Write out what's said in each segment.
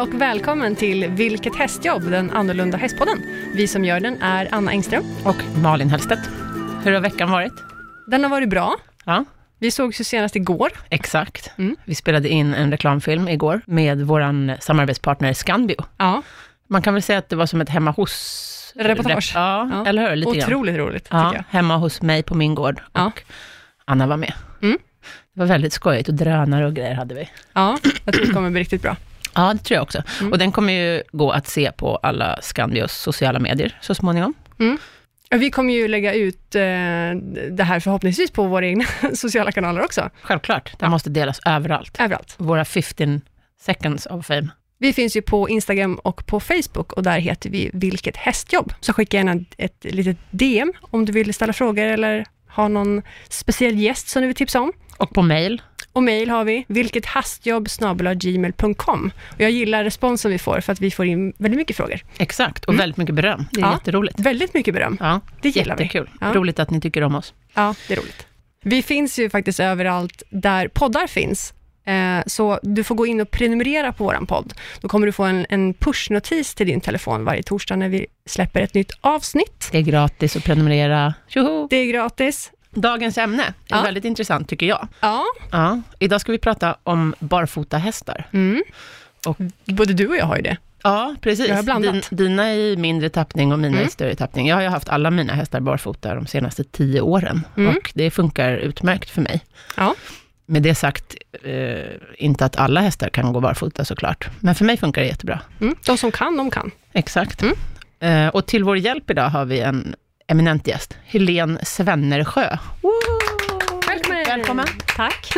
och välkommen till Vilket hästjobb, den annorlunda hästpodden. Vi som gör den är Anna Engström. Och Malin Hellstedt. Hur har veckan varit? Den har varit bra. Ja, Vi sågs ju senast igår. exakt. Mm. Vi spelade in en reklamfilm igår med vår samarbetspartner Scanbio. Ja, Man kan väl säga att det var som ett hemma hos... Reportage. Ja, Ja. eller hur? Lite grann. otroligt roligt tycker Ja, jag. hemma hos mig på min gård. Ja. Och Anna var med. Mm. Det var väldigt skojigt och drönare och grejer hade vi. Ja, jag tror det kommer bli riktigt bra. Ja, det tror jag också. Mm. Och den kommer ju gå att se på alla Scandios sociala medier så småningom. Vi kommer ju lägga ut eh, det här förhoppningsvis på våra egna sociala kanaler också, Självklart, den måste delas överallt. överallt. Våra 15 seconds of fame. Vi finns ju på Instagram och på Facebook och där heter vi Vilket hästjobb. Så skicka gärna ett litet DM om du vill ställa frågor eller ha någon speciell gäst som du vill tipsa om. Och på mail. Och mejl har vi, vilkethastjobb.gmail.com. Och jag gillar responsen vi får, för att vi får in väldigt mycket frågor. Exakt, och väldigt mycket beröm. Det är Mm. Ja. jätteroligt. Väldigt mycket beröm. Ja, Det gillar vi. jättekul. Ja. Roligt att ni tycker om oss. Ja, det är roligt. Vi finns ju faktiskt överallt där poddar finns. Eh, Så du får gå in och prenumerera på vår podd. Då kommer du få en, en pushnotis till din telefon varje torsdag när vi släpper ett nytt avsnitt. Det är gratis att prenumerera. Tjoho! Det är gratis. Dagens ämne är Ja. väldigt intressant tycker jag. Ja, Ja. Idag ska vi prata om barfota hästar. mm. Och- både du och jag har ju det. Ja, precis. Jag har blandat. dina i mindre tappning och mina Mm. i större tappning. Jag har ju haft alla mina hästar barfota de senaste tio åren Mm. och det funkar utmärkt för mig. Ja. Med det sagt, eh, inte att alla hästar kan gå barfota såklart, men för mig funkar det jättebra. Mm. De som kan, de kan. Exakt. Mm. Eh, och till vår hjälp idag har vi en eminent gäst, Helene Svennersjö. Woo! Välkommen! Välkommen. Tack.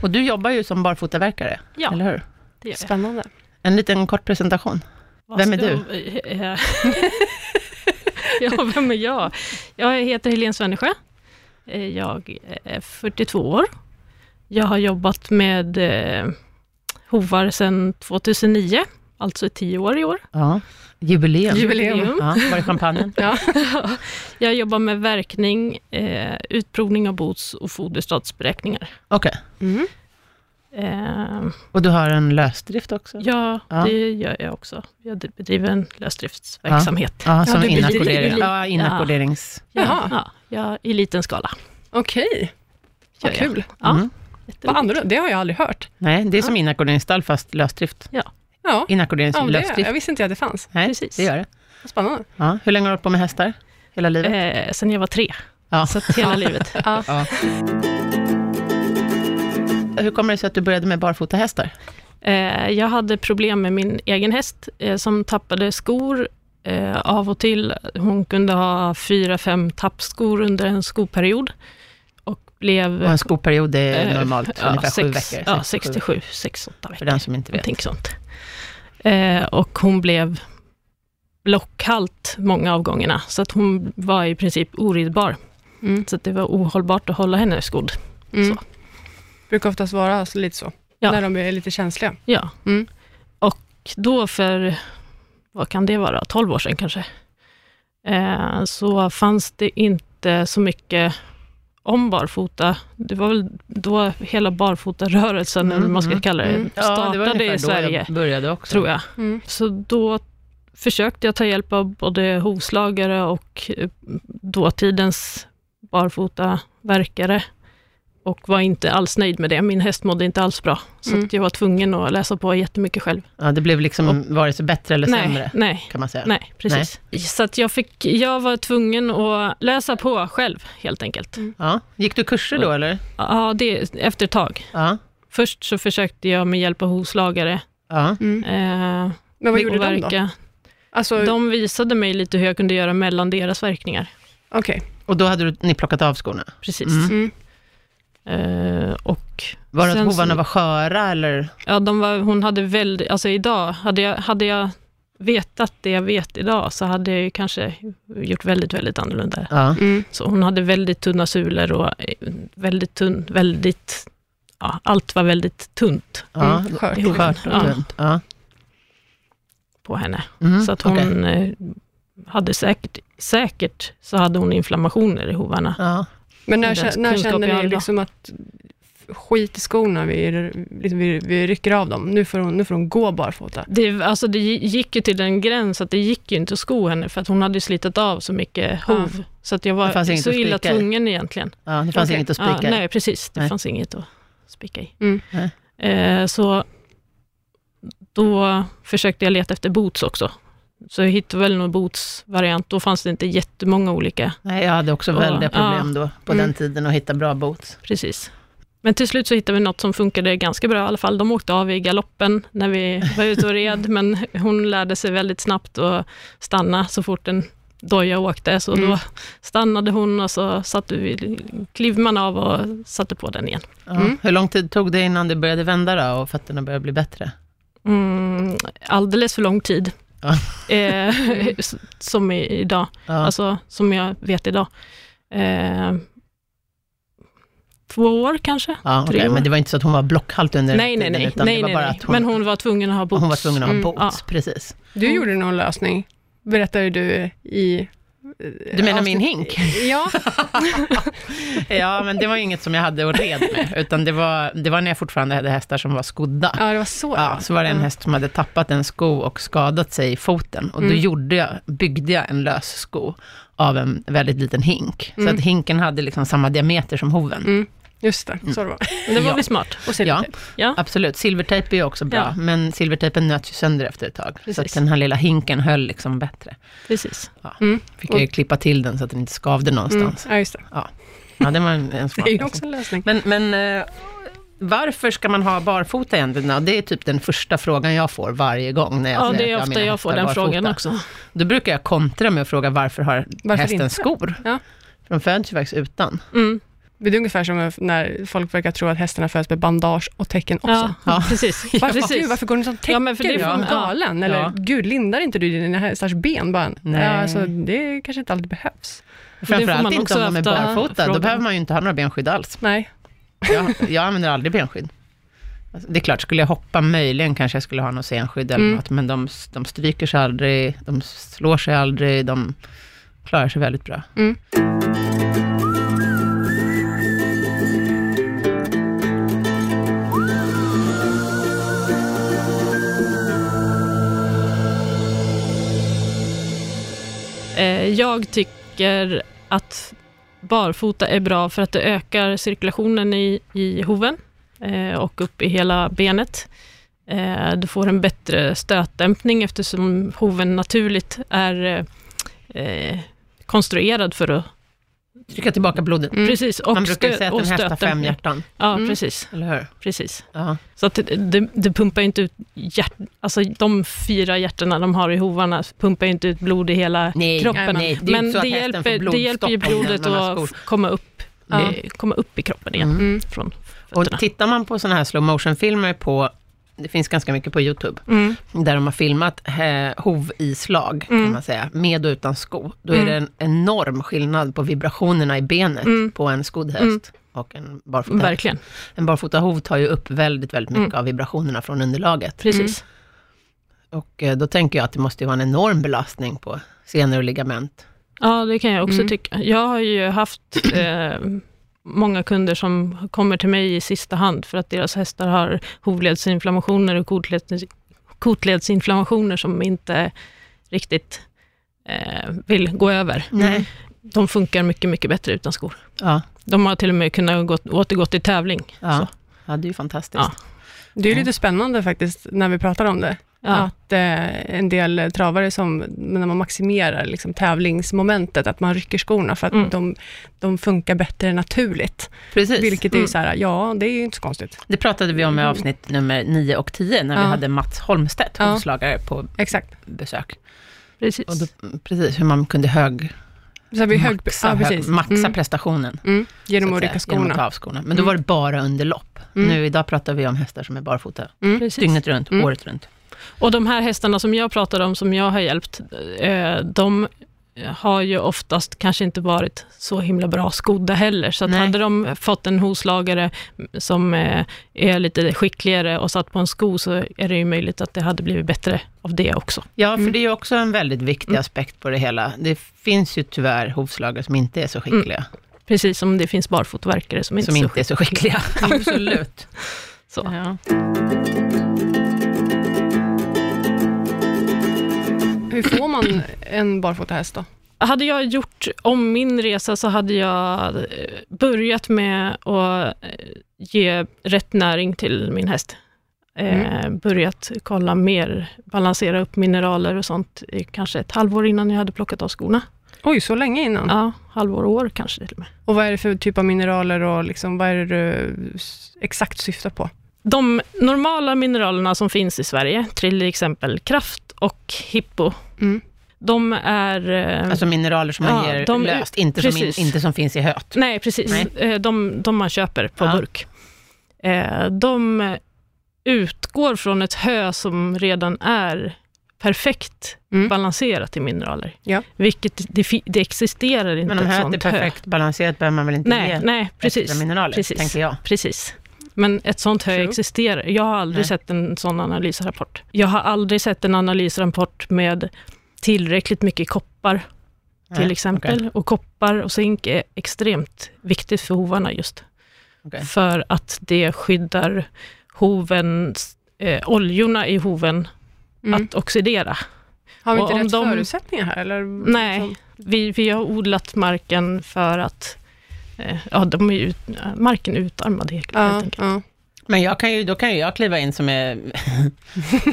Och du jobbar ju som barfotaverkare, Ja, eller hur? det gör jag. Spännande. En liten kort presentation. Vad Vem är ska- du? Eh, ja, vem är jag? Jag heter Helene Svennesjö. Eh, Jag är 42 år. Jag har jobbat med eh, hovar sedan 2009, alltså 10 år i år. Ja. Jubileum. Jubileum. Ja, var det champagnen? Ja. Jag jobbar med verkning, eh, utprovning av bots och foderstadsberäkningar. Okej. Mm. Eh, Och du har en lösdrift också? ja, Ja. det gör jag också. Jag bedriver en lösdriftsverksamhet. Ja, som du blir- inackordering. du blir- Ja, inackorderings... Jaha. Ja, ja, I liten skala. Okej, vad gör jag. kul. Ja. Mm. Vad annorlunda, det har jag aldrig hört. Nej, det är som inackorderingsstall fast lösdrift. Ja, ja men det, Inackorderingslösdrift. jag visste inte att det fanns. Nej, Precis. det gör det. Vad Spännande. Ja. Hur länge har du hållit på med hästar? Hela livet? Eh, sen jag var tre, ja. så att hela livet. Ja. Ja. Hur kommer det sig att du började med barfota hästar? Eh, jag hade problem med min egen häst eh, som tappade skor eh, av och till. Hon kunde ha fyra, fem tappskor under en skoperiod och blev Och en skoperiod är eh, normalt ja, ungefär sju sex- veckor. Ja, sex, sex sju till sju, sex, åtta För veckor. den som inte vet. Någonting sånt. Eh, och hon blev blockhalt många av gångerna, så att hon var i princip oridbar. Mm. Så att det var ohållbart att hålla henne skodd. Mm. Så. Brukar oftast vara så- lite så, Ja. när de är lite känsliga. Ja. Mm. Och då för, vad kan det vara, 12 år sedan kanske, eh, så fanns det inte så mycket om barfota. Det var väl då hela barfotarörelsen, eller vad man ska Mm, kalla det, mm. det var startade ungefär i då Sverige, jag började också. tror jag. Mm. Så då försökte jag ta hjälp av både hovslagare och eh, dåtidens barfotaverkare och var inte alls nöjd med det. Min häst mådde inte alls bra, så Mm. att jag var tvungen att läsa på jättemycket själv. Ja, det blev liksom vare sig bättre eller sämre, Nej, nej, kan man säga. nej, precis. Så att jag, fick, jag var tvungen att läsa på själv, helt enkelt. Ja. Gick du kurser då, eller? Ja, det, efter ett tag. Ja. Först så försökte jag med hjälp av hovslagare. ja. Mm. Eh, Men vad gjorde de då? verka. Alltså, De visade mig lite hur jag kunde göra mellan deras verkningar. okej. Och då hade du, ni plockat av skorna? Precis. Mm. Mm. Eh, och Var det att Sen så- hovarna var sköra, eller? ja, de var, hon hade väldigt, alltså idag, hade jag, hade jag vetat det jag vet idag så hade jag ju kanske gjort väldigt, väldigt annorlunda. Ja. Mm. Så hon hade väldigt tunna sulor och eh, väldigt tunn, väldigt, ja, allt var väldigt tunt ja. Mm. Skört. Jo. Skört och Ja. tunt. Ja. på henne. Mm, så att hon okej. eh, hade säkert, säkert så hade hon inflammationer i hovarna. Ja. Men när, Den kä- när kunskap känner jag ni hade då. liksom att f- skit i skorna, vi, liksom, vi, vi rycker av dem. Nu får hon, nu får hon gå barfota. Det, alltså det gi- gick ju till en gräns att det gick ju inte att sko henne, för att hon hade ju slitit av så mycket hov. Så att jag Det fanns var inget så att illa spika i. tvungen egentligen. Ja, det fanns Okej. inget att spika Ja, i. nej, precis. Det Nej. fanns inget att spika i. Mm. Nej. Eh, så då försökte jag leta efter boots också. Så jag hittade väl någon bootsvariant. Då fanns det inte jättemånga olika, Nej, jag hade också Och- väldiga problem då på Mm. den tiden att hitta bra boots. precis. Men till slut så hittade vi något som funkade ganska bra i alla fall. De åkte av i galoppen när vi var ute och red, men hon lärde sig väldigt snabbt att stanna så fort en doja åkte. Så Mm. då stannade hon och så satte vi, klev man av och satte på den igen. Ja. Mm. Hur lång tid tog det innan det började vända då och fötterna började bli bättre? Mm, alldeles för lång tid. Ja. Eh, s- som i, idag, Ja. alltså som jag vet idag. Eh, två år kanske? Ja, tre okej, år. Men det var inte så att hon var blockhalt under nej, den nej, tiden, nej. utan nej, det var nej, bara nej. att hon, Men hon var tvungen att ha boots. hon var tvungen att ha Mm, boots. Precis. Du Mm. gjorde någon lösning, berättade du i... eh, Du menar min hink? Ja, Ja, men det var ju inget som jag hade att red med, utan det var, det var när jag fortfarande hade hästar som var skodda. ja, det var så. Ja, så var det en Ja. häst som hade tappat en sko och skadat sig i foten. Och då Mm. gjorde jag, byggde jag en lös sko av en väldigt liten hink. Mm. Så att hinken hade liksom samma diameter som hoven. Mm. Just det, så det var. Men det var Ja. väl smart. Och sen Ja. lite. Absolut, silvertejp är ju också bra, Ja. men silvertejpen nöts ju sönder efter ett tag. Så att Precis. den här lilla hinken höll liksom bättre. Precis. Mm. Fick jag ju klippa till den så att den inte skavde Mm. någonstans. Ja, just det. Ja, det var en, en smart Det är ju lösning. också en lösning. Men, men eh, varför ska man ha barfota egentligen? Ja, Det är typ den första frågan jag får varje gång när jag Ja, säger det att är jag har ofta mina jag får hästar den barfota. frågan också. Då brukar jag kontra med att fråga varför har Varför hästen inte? skor? Ja. För de föds ju faktiskt utan. Mm. Det är ungefär som när folk verkar tro att hästarna föds med bandage och tecken också. Ja, Ja. precis. Varför, precis. gud, varför går du som täcker? Ja, men för det är du är från- ja. galen. Eller Ja. gud, lindar inte du dina hästars ben? Bara, Nej. Nej. Alltså, det kanske inte alltid behövs. Och får man Framförallt inte också om de är ofta barfota, då fråga. behöver man ju inte ha några benskydd alls. Nej. Jag, jag använder aldrig benskydd. Alltså, Det är klart, skulle jag hoppa möjligen kanske jag skulle ha något senskydd eller Mm. något, men de, de stryker sig aldrig, de slår sig aldrig, de klarar sig väldigt bra. Mm. Eh, Jag tycker att barfota är bra för att det ökar cirkulationen i, i hoven eh, och upp i hela benet. Eh, Du får en bättre stötdämpning eftersom hoven naturligt är eh, eh, konstruerad för att... Trycka tillbaka blodet. Mm. Precis, och, Man brukar ju stö- säga att och en häst har fem stötdämpning. hjärtan, Ja, Mm. precis, eller hur? precis. Ja. Så att det- det, det pumpar ju inte ut hjärt... Alltså de fyra hjärtorna de har i hovarna pumpar ju inte ut blod i hela Nej, Nej, kroppen. nej, det är ju Men inte så det att hästen får hjälper, det hjälper ju blodstopp om blodet den- man har att skor. f- komma upp, Ja. eh, komma upp i kroppen igen Mm. Mm. från fötterna. Och tittar man på sådana här slow motion-filmer på, det finns ganska mycket på YouTube, Mm. där de har filmat eh, hovislag, kan Mm. man säga, med och utan sko. Då är Mm. det en enorm skillnad på vibrationerna i benet Mm. på en skodd häst Mm. och en barfota. häst. Verkligen, En barfota hov tar ju upp väldigt, väldigt mycket Mm. av vibrationerna från underlaget. precis. Och eh, då tänker jag att det måste ju vara en enorm belastning på senor och ligament. Ja, det kan jag också Mm. tycka. Jag har ju haft eh, många kunder som kommer till mig i sista hand för att deras hästar har hovledsinflammationer och kotleds, kotledsinflammationer som inte riktigt eh, vill gå över. Nej. De funkar mycket, mycket bättre utan skor. Ja, De har till och med kunnat gå, återgå till tävling. ja. Så. ja det är ju fantastiskt. Ja. Det är ju lite spännande faktiskt, när vi pratar om det, Ja. att eh, en del travare som, när man maximerar liksom, tävlingsmomentet, att man rycker skorna för att Mm. de, de funkar bättre naturligt. Precis. Vilket är ju Mm. så här, ja, det är ju inte så konstigt. Det pratade vi om i avsnitt nummer 9 och 10, när vi Ja. hade Mats Holmstedt, Ja. hovslagare, på Exakt. besök. Precis. Och då, precis, hur man kunde hög, Så här, vi hög, maxa, ja, hög, precis. maxa Mm. prestationen. Mm. Genom så att säga, rycka Genom att ta skorna. av skorna. Men då Mm. var det bara under lopp. Mm. Nu idag pratar vi om hästar som är barfota, Mm. Precis. dygnet runt, Mm. året runt. Och de här hästarna som jag pratar om, som jag har hjälpt, eh, de har ju oftast kanske inte varit så himla bra skodda heller. Så att Nej. hade de fått en hoslagare som eh, är lite skickligare och satt på en sko, så är det ju möjligt att det hade blivit bättre av det också. Ja, för Mm. det är ju också en väldigt viktig Mm. aspekt på det hela. Det finns ju tyvärr hovslagare som inte är så skickliga. Precis som det finns barfotaverkare som, som inte är så skickliga. Absolut. Så. Ja. Hur får man en barfotahäst då? Hade jag gjort om min resa så hade jag eh, börjat med att eh, ge rätt näring till min häst. Eh, Börjat kolla mer, balansera upp mineraler och sånt, i kanske ett halvår innan jag hade plockat av skorna. Oj, så länge innan? Ja, halvår och år kanske till och med. Och vad är det för typ av mineraler och liksom, vad är det du s- exakt syftar på? De normala mineralerna som finns i Sverige, till exempel kraft och hippo, Mm. de är... eh, Alltså mineraler som man Ja, ger de- löst, inte som, in, precis. inte som finns i höet. Nej, precis. Nej. Eh, De, de man köper på Ja. burk. Eh, De utgår från ett hö som redan är perfekt Mm. balanserat i mineraler. Ja. Vilket det, fi- det existerar inte Men om ett höet sånt är perfekt balanserat behöver man väl hö. inte Nej, ge nej, extra precis. mineraler, Precis. tänker jag. precis. Men ett sånt hö True. existerar. Jag har aldrig Nej. sett en sån analysrapport. Jag har aldrig sett en analysrapport med tillräckligt mycket koppar till Nej, exempel. Och koppar och zink är extremt viktigt för hovarna just. Okej. För att det skyddar hovens, eh, oljorna i hoven Mm. att oxidera. Har vi och inte om rätt de- förutsättningar här? Eller? Nej. liksom- Vi, vi har odlat marken för att eh, ja, de är ju ut, marken är utarmad helt Ja, enkelt. ja. Men jag kan ju, då kan ju jag kliva in som är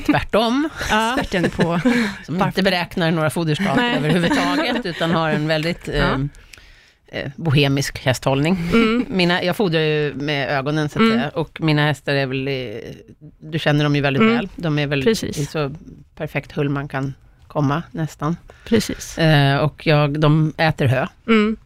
tvärtom, Ja. Stärken på. som Varför? inte beräknar några foderstater Nej. överhuvudtaget, utan har en väldigt eh, Ja. eh, bohemisk hästhållning. Mm. Mina, jag fodrar ju med ögonen, så att Mm. säga, och mina hästar är väl, i, du känner dem ju väldigt Mm. väl, de är väl Precis. i så perfekt hull man kan komma nästan. Precis. Eh, och jag, de äter hö, Mm.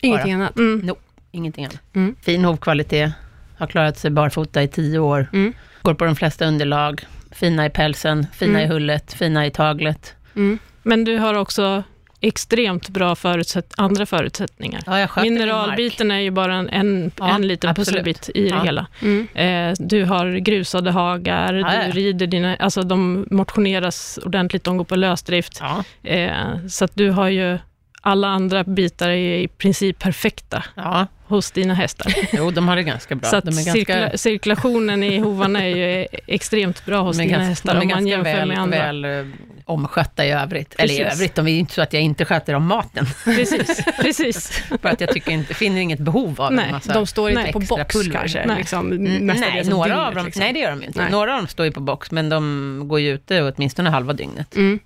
Ingenting annat. Mm. ingenting annat. Mm. Fin hovkvalitet, har klarat sig barfota i tio år, Mm. går på de flesta underlag, fina i pälsen, fina Mm. i hullet, fina i taglet. Mm. Men du har också extremt bra förutsätt, andra förutsättningar. Ja, jag sköter min mark. Mineralbiten är ju bara en, en, Ja, en liten absolut. pusselbit i det Ja. hela. Mm. Eh, du har grusade hagar, Ja, ja. du rider dina, alltså de motioneras ordentligt, de går på lösdrift. Ja, Eh, så att du har ju, alla andra bitar är i princip perfekta ja, hos dina hästar. jo de har det ganska bra. så att de är ganska, cirkula, cirkulationen i hovarna är ju extremt bra hos de är dina ganska, hästar de är om man ganska jämför väl, med andra. väl eh, omskötta i övrigt. Eller i Precis. övrigt, de är ju inte så att jag inte sköter om maten, Precis, precis. för att jag tycker inte, finner inget behov av Nej, en massa... De står inte Nej, på Alltså, extra box pulver. kanske? Nej. Liksom, Mm, mesta nej, delen av några dygnet, av dem, liksom. nej det gör de ju inte. Nej. Några av dem står ju på box, men de går ju ute åtminstone halva dygnet. Mm.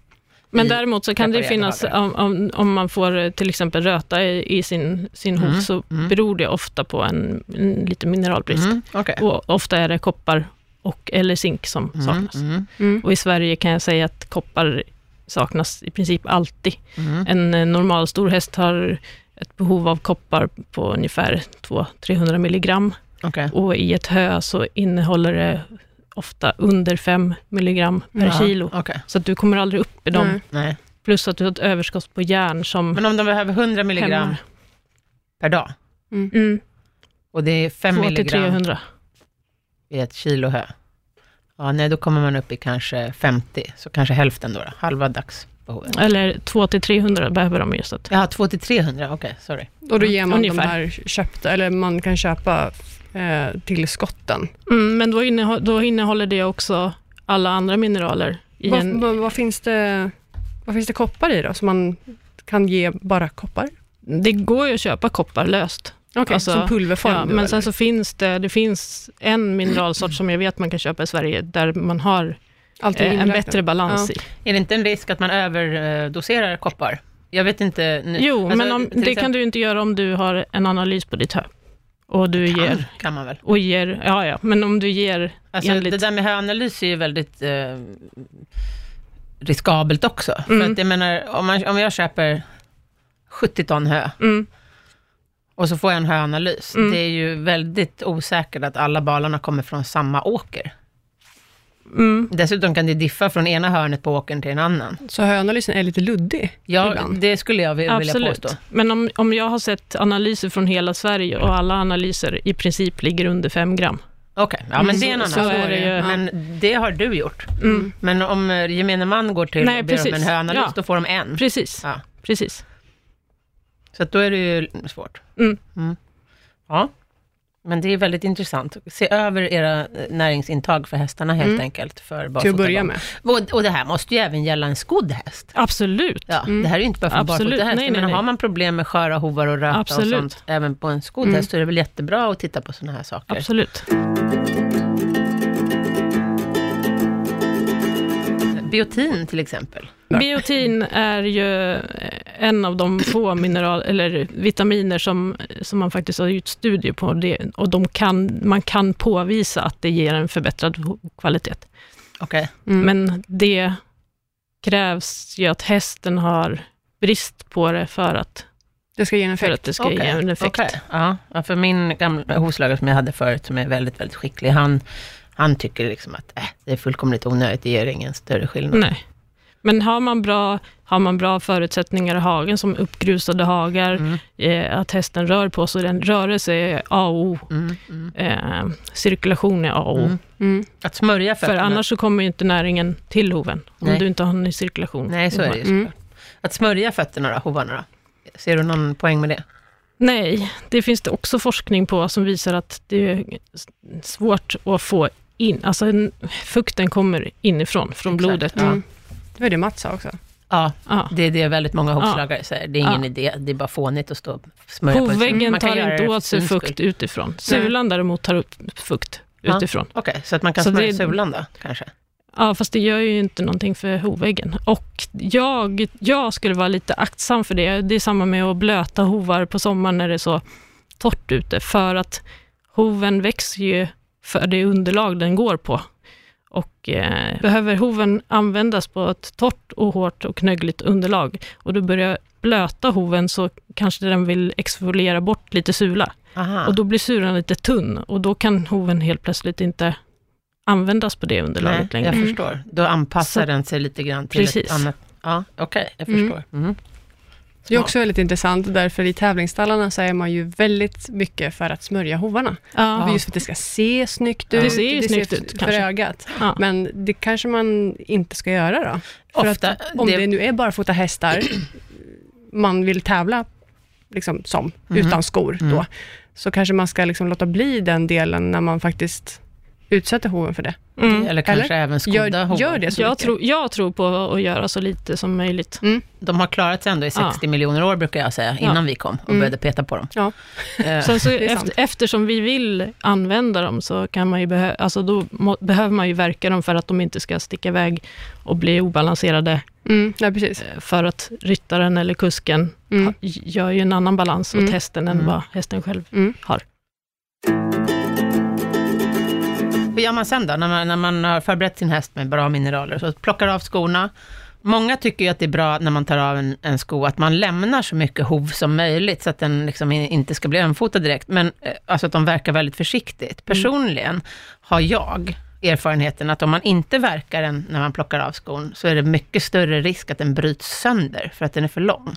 Men i däremot så kan det ju preparerade finnas, om, om, om man får eh, till exempel röta i, i sin, sin hov, Mm, så mm. beror det ofta på en, en lite mineralbrist. Mm, okej. Och ofta är det koppar och, eller zink som Mm, saknas. mm, Mm. Och i Sverige kan jag säga att koppar saknas i princip alltid. mm. En eh, normal stor häst har ett behov av koppar på ungefär 200-300 milligram Okej. och i ett hö så innehåller det ofta under 5 milligram per Ja, kilo. okej. Så att du kommer aldrig upp i dem. Nej. Nej. Plus att du har ett överskott på järn som Men om de behöver 100 milligram hämmar. per dag Mm, och det är 5 milligram 200-300. i ett kilo hö. Ja, nej, då kommer man upp i kanske 50, så kanske hälften då, då halva dagsbehovet. Eller 200-300 behöver de just. Att. Ja, 2 till 300, okej, sorry. Och då ger man Ungefär. de här köpta, eller man kan köpa eh, tillskotten. Mm, men då, inneha- då innehåller det också alla andra mineraler. I Vad, en, vad, vad, finns det, vad finns det koppar i då, som man kan ge bara koppar? det går ju att köpa koppar löst. Okej, Alltså, som pulverform? Ja, då, men eller? sen så finns det, det finns en mineralsort som jag vet man kan köpa i Sverige, där man har Allting eh, en inräknat. bättre balans i. Är det inte en risk att man överdoserar koppar? Jag vet inte. Nu. Jo, Alltså, men om, till det kan exempel- du ju inte göra om du har en analys på ditt hö. Och du ger, Kan man väl? och ger, ja ja, men om du ger Alltså, Enligt- Det där med höanalys är ju väldigt eh, riskabelt också. För Mm. att jag menar, om, man, om jag köper 70 ton hö mm, och så får jag en höanalys, Mm. det är ju väldigt osäkert att alla balarna kommer från samma åker. mm, Dessutom kan det diffa från ena hörnet på åkern till en annan. Så höanalysen är lite luddig Ja, ibland? det skulle jag vilja Absolut. påstå. Men om, om jag har sett analyser från hela Sverige och alla analyser i princip ligger under 5 gram. Okej, ja men det är en Så- annan så Mm, är historia. det ju. Men det har du gjort. Mm. Men om eh, gemene man går till Nej, och ber om en precis. höanalys, Ja. då får de en. Precis. Ja. Precis. Så att då är det ju svårt. Mm. Ja, men det är väldigt intressant. Se över era eh, näringsintag för hästarna helt Mm. enkelt. För barfota Till att börja barn. med. Och, och det här måste ju även gälla en skodd häst. Absolut. Ja, Det här är ju inte bara för Mm. Absolut. barfota häst. Nej, men nej, nej. har man problem med sköra hovar och röta Absolut. och sånt, även på en skodd Mm. häst, så är det väl jättebra att titta på sådana här saker. Absolut. Biotin till exempel. Biotin är ju eh, en av de få mineral, eller vitaminer som, som man faktiskt har gjort studier på det, och de kan, man kan påvisa att det ger en förbättrad ho- kvalitet. Okej. Mm. Men det krävs ju att hästen har brist på det för att, det ska ge en för effekt. att det ska ge Okej, en effekt. okej. Ja, ja, för min gamla hovslagare som jag hade förut, som är väldigt, väldigt skicklig, han, han tycker liksom att äh, det är fullkomligt onödigt, det gör ingen större skillnad. Nej. Men har man, bra, har man bra förutsättningar i hagen, som uppgrusade hagar, Mm, eh, att hästen rör på sig, den rörelse är A och O. mm, mm, Eh, cirkulation är A och O. mm. Mm. Att smörja För fötterna. annars så kommer ju inte näringen till hoven, om Nej. du inte har någon cirkulation. Nej, så är det ju. Mm. Att smörja fötterna då, hovarna då? Ser du någon poäng med det? Nej, det finns det också forskning på som visar att det är svårt att få in, alltså en- fukten kommer inifrån, från Exakt. blodet. Ja. Mm. Det var det Mats sa också. Ja, Ja. det är det väldigt många hovslagare säger. Det är ingen idé, det är bara fånigt att stå och smörja på ett- Hovväggen Man kan göra tar inte det för åt sig syns skull. fukt utifrån. Sulan däremot tar upp fukt Ja. utifrån. Okej, så att man kan Så smörja det är- sulan då, kanske? Ja, fast det gör ju inte någonting för hovväggen. Och jag, jag skulle vara lite aktsam för det. Det är samma med att blöta hovar på sommaren när det är så torrt ute, för att hoven växer ju för det underlag den går på. Och eh, behöver hoven användas på ett torrt och hårt och knöggligt underlag och du börjar blöta hoven så kanske den vill exfoliera bort lite sula. Aha. Och då blir sulan lite tunn och då kan hoven helt plötsligt inte användas på det Nej, underlaget längre. jag Mm. förstår. Då anpassar Så- den sig lite grann till ett Precis. annat... Ja, okej, jag Mm. förstår. Mm. Det är Smart. också väldigt intressant, därför i tävlingsstallarna så är man ju väldigt mycket för att smörja hovarna. Ja, Just för att det ska se snyggt ut. Det ser ju snyggt ut, för kanske. ögat. Ja. Men det kanske man inte ska göra då. För Ofta, att om det- det... nu är barfota hästar man vill tävla liksom, som, Mhm. utan skor Mm. då, så kanske man ska liksom låta bli den delen när man faktiskt utsätter hoven för det. Mm. Eller kanske även skodda Gör, hovar. gör det så Jag, mycket. tror, jag tror på att göra så lite som möjligt. De har klarat sig ändå i 60 miljoner år, brukar jag säga, innan vi kom och började peta på dem. Ja. Eh, Sen Mm. så är eft- sant. eftersom vi vill använda dem, så kan man ju behö- alltså då må- behöver man ju verka dem för att de inte ska sticka iväg och bli obalanserade, Mm, ja, precis. eh, för att ryttaren eller kusken Mm. j- gör ju en annan balans åt Mm. hästen än Mm. vad hästen själv Mm. har. Hur gör man sen då, när man, när man har förberett sin häst med bra mineraler? Så plockar av skorna. Många tycker ju att det är bra när man tar av en, en sko, att man lämnar så mycket hov som möjligt, så att den liksom in- inte ska bli ömfotad direkt, men eh, alltså att de verkar väldigt försiktigt. Personligen har jag erfarenheten att om man inte verkar den när man plockar av skon, så är det mycket större risk att den bryts sönder, för att den är för lång.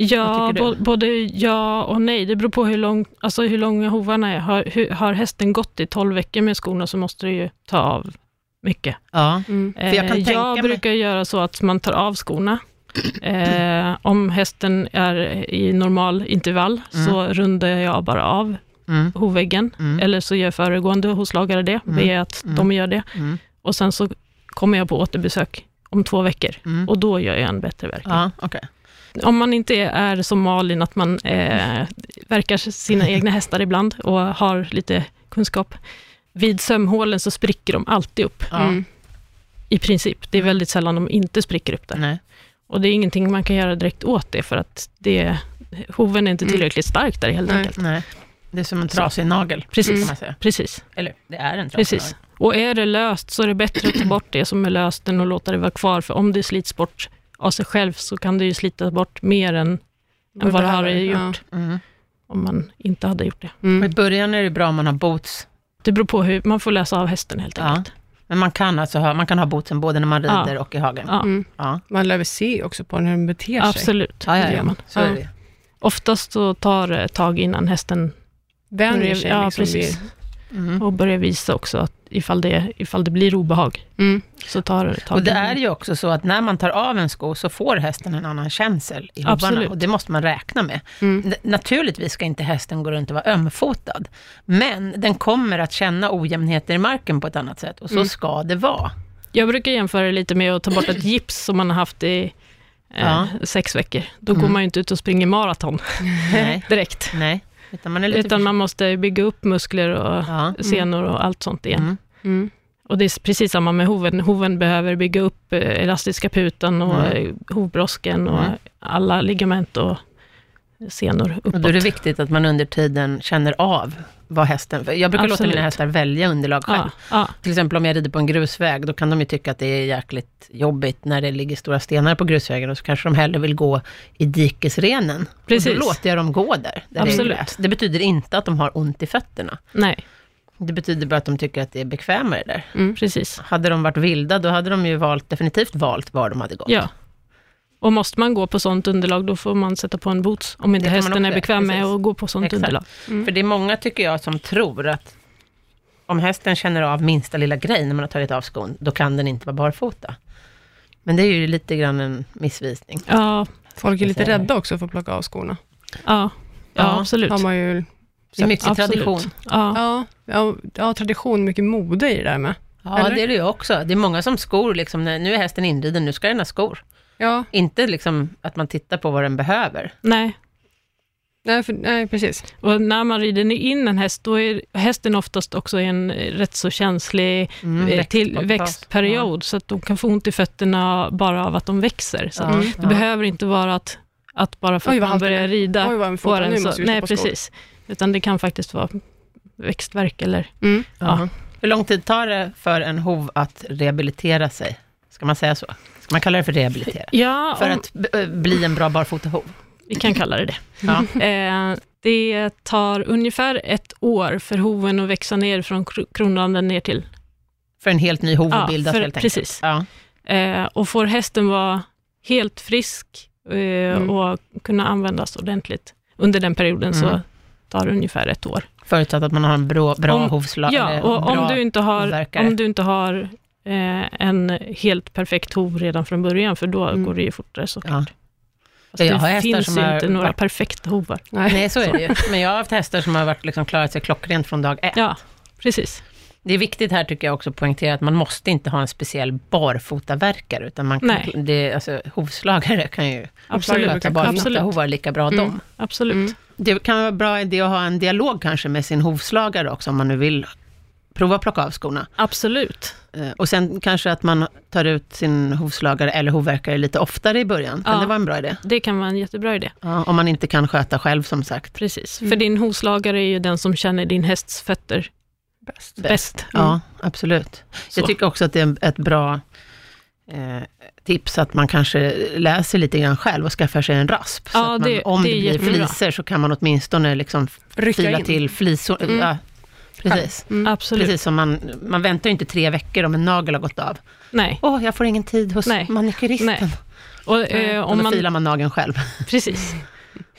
Ja, Vad tycker du? bo- både ja och nej. Det beror på hur, lång, alltså hur långa hovarna är. Har, hur, har hästen gått i 12 veckor med skorna så måste du ju ta av mycket. Ja, Mm. För jag kan Eh, tänka mig- jag brukar göra så att man tar av skorna. Eh, om hästen är i normal intervall så rundar jag bara av Mm. hovväggen. Mm. Eller så gör föregående hovslagare det, Mm. via att de gör det. Mm. Och sen så kommer jag på återbesök om två veckor Mm. och då gör jag en bättre verkan. ja okej. Om man inte är som Malin, att man eh, verkar sina egna hästar ibland och har lite kunskap. Vid sömhålen så spricker de alltid upp, Ja, Mm. i princip. Mm. Det är väldigt sällan de inte spricker upp där. nej. Och det är ingenting man kan göra direkt åt det, för att det, hoven är inte tillräckligt stark där helt Nej. enkelt. nej. Det är som en trasig nagel, Precis. kan man säga. Precis, Eller, det är en trasig nagel. precis. Och är det löst så är det bättre att ta bort det som är löst än att låta det vara kvar, för om det slits bort av sig själv så kan det ju slita bort mer än, än vad det har gjort, Mm. om man inte hade gjort det. Ja. Mm. I början är det bra om man har boots, Det beror på hur, man får läsa av hästen helt Ja. enkelt. men man kan, alltså ha, man kan ha bootsen både när man Ja. rider och i hagen. Ja. Mm. Ja. Man lär väl se också på när den beter sig. Absolut, Ja, ja, det ja. gör man. Så är det. ju. Oftast så tar det ett tag innan hästen Vänjer sig ja, liksom precis. vid- Mm. och börjar visa också att ifall det, ifall det blir obehag. Mm. Så tar, tar Och det den- är ju också så att när man tar av en sko så får hästen en annan känsel i hovarna Absolut. och det måste man räkna med. Mm. N- Naturligtvis ska inte hästen gå runt och vara ömfotad, men den kommer att känna ojämnheter i marken på ett annat sätt Mm. och så ska det vara. Jag brukar jämföra det lite med att ta bort ett gips som man har haft i eh, Ja. Mm. sex veckor. Då går man ju inte ut och springer maraton Nej, direkt. nej. Utan man är lite Utan försiktig. man måste bygga upp muskler och typ- Ja. senor och allt sånt igen. Mm. Mm. Och det är precis samma med hoven. Hoven behöver bygga upp eh, elastiska putan och Mm. mm. hovbrosken och Mm. alla ligament och senor uppåt. Och då är det viktigt att man under tiden känner av vad hästen... för Jag brukar låta Absolut. mina hästar välja underlag själv. ja, ja, Till exempel om jag rider på en grusväg, då kan de ju tycka att det är jäkligt jobbigt när det ligger stora stenar på grusvägen och så kanske de hellre vill gå i dikesrenen. Och Precis. då låter jag dem gå där, där det är Absolut. gräs. Det betyder inte att de har ont i fötterna. nej, Det betyder bara att de tycker att det är bekvämare där. Mm. precis. Hade de varit vilda, då hade de ju valt, definitivt valt var de hade gått. Ja. Och måste man gå på sånt underlag, då får man sätta på en boots, om inte Det kan man hästen är också, bekväm med precis. att gå på sånt Exakt. underlag. För det är många, tycker jag, som tror att om hästen känner av minsta lilla grej när man har tagit av skon, då kan den inte vara barfota. Men det är ju lite grann en missvisning. Ja, Folk är lite Jag ser det. rädda också för att plocka av skorna. ja, Ja, ja, absolut. Har man ju, Det är mycket Absolut. tradition. Ja, ja, ja, ja, tradition, mycket mode i det där med. Ja, Eller? det är det ju också. Det är många som skor, liksom, när- nu är hästen inriden, nu ska den ha skor. Ja, Inte liksom att man tittar på vad den behöver. nej. nej, för, nej precis. Och när man rider in en häst, då är hästen oftast också i en eh, rätt så känslig Mm, eh, till växtfas. växtperiod, så att de kan få ont i fötterna bara av att de växer. Så att Ja, Mm. Det ja. behöver inte vara att, att bara för att Oj, vad man halt det Oj, börjar rida vad en får fota, en nu så. måste vi Nej, köpa skor. precis. Utan det kan faktiskt vara växtverk eller... Mm. Ja. Hur lång tid tar det för en hov att rehabilitera sig? Ska man säga så? Ska man kalla det för rehabilitera? Ja, För om, att b- ö, bli en bra barfotahov? vi kan kalla det det. Ja. Eh, det tar ungefär ett år för hoven att växa ner från kro- kronanden ner till. För en helt ny hov att bildas för- helt enkelt? precis. Ja. Eh, och får hästen vara helt frisk eh, Mm. och kunna användas ordentligt under den perioden så Mm. tar det ungefär ett år. Förutsatt att man har en bra, bra Om- hovslag. Ja, eller och bra, om du inte har, verkar. om du inte har eh, en helt perfekt hov redan från början, för då Mm. går det ju fortare såklart. Ja. Fast Jag har det hästar finns som ju har inte några varit- perfekta hovar. Nej, så är det ju. Men jag har haft hästar som har varit, liksom, klarat sig klockrent från dag ett. Ja, precis. Det är viktigt här tycker jag också att poängtera att man måste inte ha en speciell barfotaverkare, utan man Nej. kan, det, alltså, hovslagare kan ju Absolut. brukar sköta kunna. barfotahovar lika bra Mm. dem. Absolut. Mm. Det kan vara en bra idé att ha en dialog kanske med sin hovslagare också, om man nu vill prova att plocka av skorna. Absolut. Eh, Och sen kanske att man tar ut sin hovslagare eller hovverkare lite oftare i början. Kan Ja. det vara en bra idé? Det kan vara en jättebra idé. Ja, om man inte kan sköta själv som sagt. Precis. Mm. För din hovslagare är ju den som känner din hästs fötter Bäst. bäst. Ja, absolut. Mm. Så. Jag tycker också att det är en- ett bra eh, tips att man kanske läser lite grann själv och skaffar sig en rasp. så Ja, att man, det- om det det, är blir jättebra. fliser så kan man åtminstone liksom Rycka fila in. till flisor. Mm. Ja, precis. Mm. Absolut. Precis som man, man väntar ju inte tre veckor om en nagel har gått av. Nej. Åh, jag får ingen tid hos Nej. manikyristen. Nej. Och, Eh, eh, och om då man, filar man nageln själv. precis.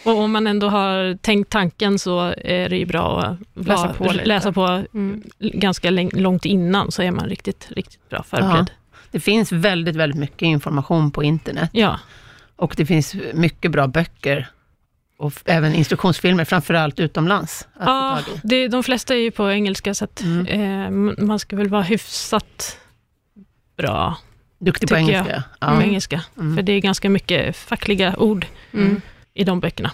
Och om man ändå har tänkt tanken så är det ju bra att Läsa vara- på lite. läsa på Mm. ganska läng- långt innan, så är man riktigt, riktigt bra förberedd. Det finns väldigt, väldigt mycket information på internet. Ja, Och det finns mycket bra böcker och f- även instruktionsfilmer, framförallt utomlands. Att få ja. Ah, tag i. det, de flesta är ju på engelska, så att, Mm. eh, m- man ska väl vara hyfsat bra Duktig på Tycker jag. engelska. på Ja. engelska, Mm. för det är ganska mycket fackliga ord Mm. i de böckerna.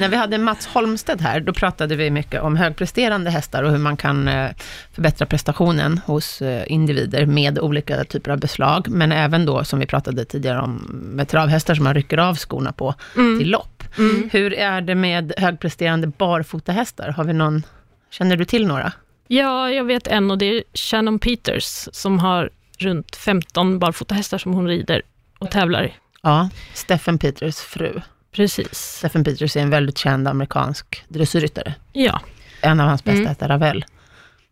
När vi hade Mats Holmstedt här, då pratade vi mycket om högpresterande hästar och hur man kan eh, förbättra prestationen hos eh, individer med olika typer av beslag, men även då, som vi pratade tidigare om, med travhästar som man rycker av skorna på till lopp. Mm. Hur är det med högpresterande barfotahästar? Har vi någon, känner du till några? Ja, jag vet en och det är Shannon Peters, som har runt 15 barfotahästar som hon rider och tävlar i. Ja, Stephen Peters fru. Precis. Stephen Peters är en väldigt känd amerikansk dressyrryttare. Ja, En av hans bästa Mm. heter Ravel.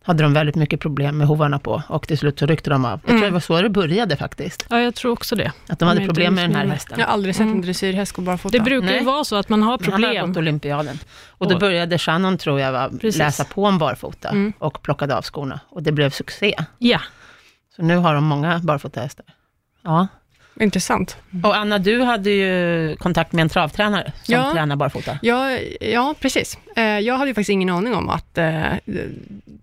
hade de väldigt mycket problem med hovarna på och till slut så ryckte de av. Jag tror Mm. det var så det började faktiskt, Ja, jag tror också det. att de Men hade inte problem med den här missnöjda. hästen. Jag har aldrig sett en Mm. dressyrhäst gå barfota. Det brukar Nej. ju vara så att man har Men Han hade problem. gått Olympiaden. Och då Och- började Shannon, tror jag, va, Precis. läsa på om barfota Mm. och plockade av skorna. Och det blev succé. Ja, Så nu har de många barfota hästar. Ja. Intressant. Och Anna, du hade ju kontakt med en travtränare som Ja. tränar barfota. Ja, ja precis. Eh, Jag hade ju faktiskt ingen aning om att eh,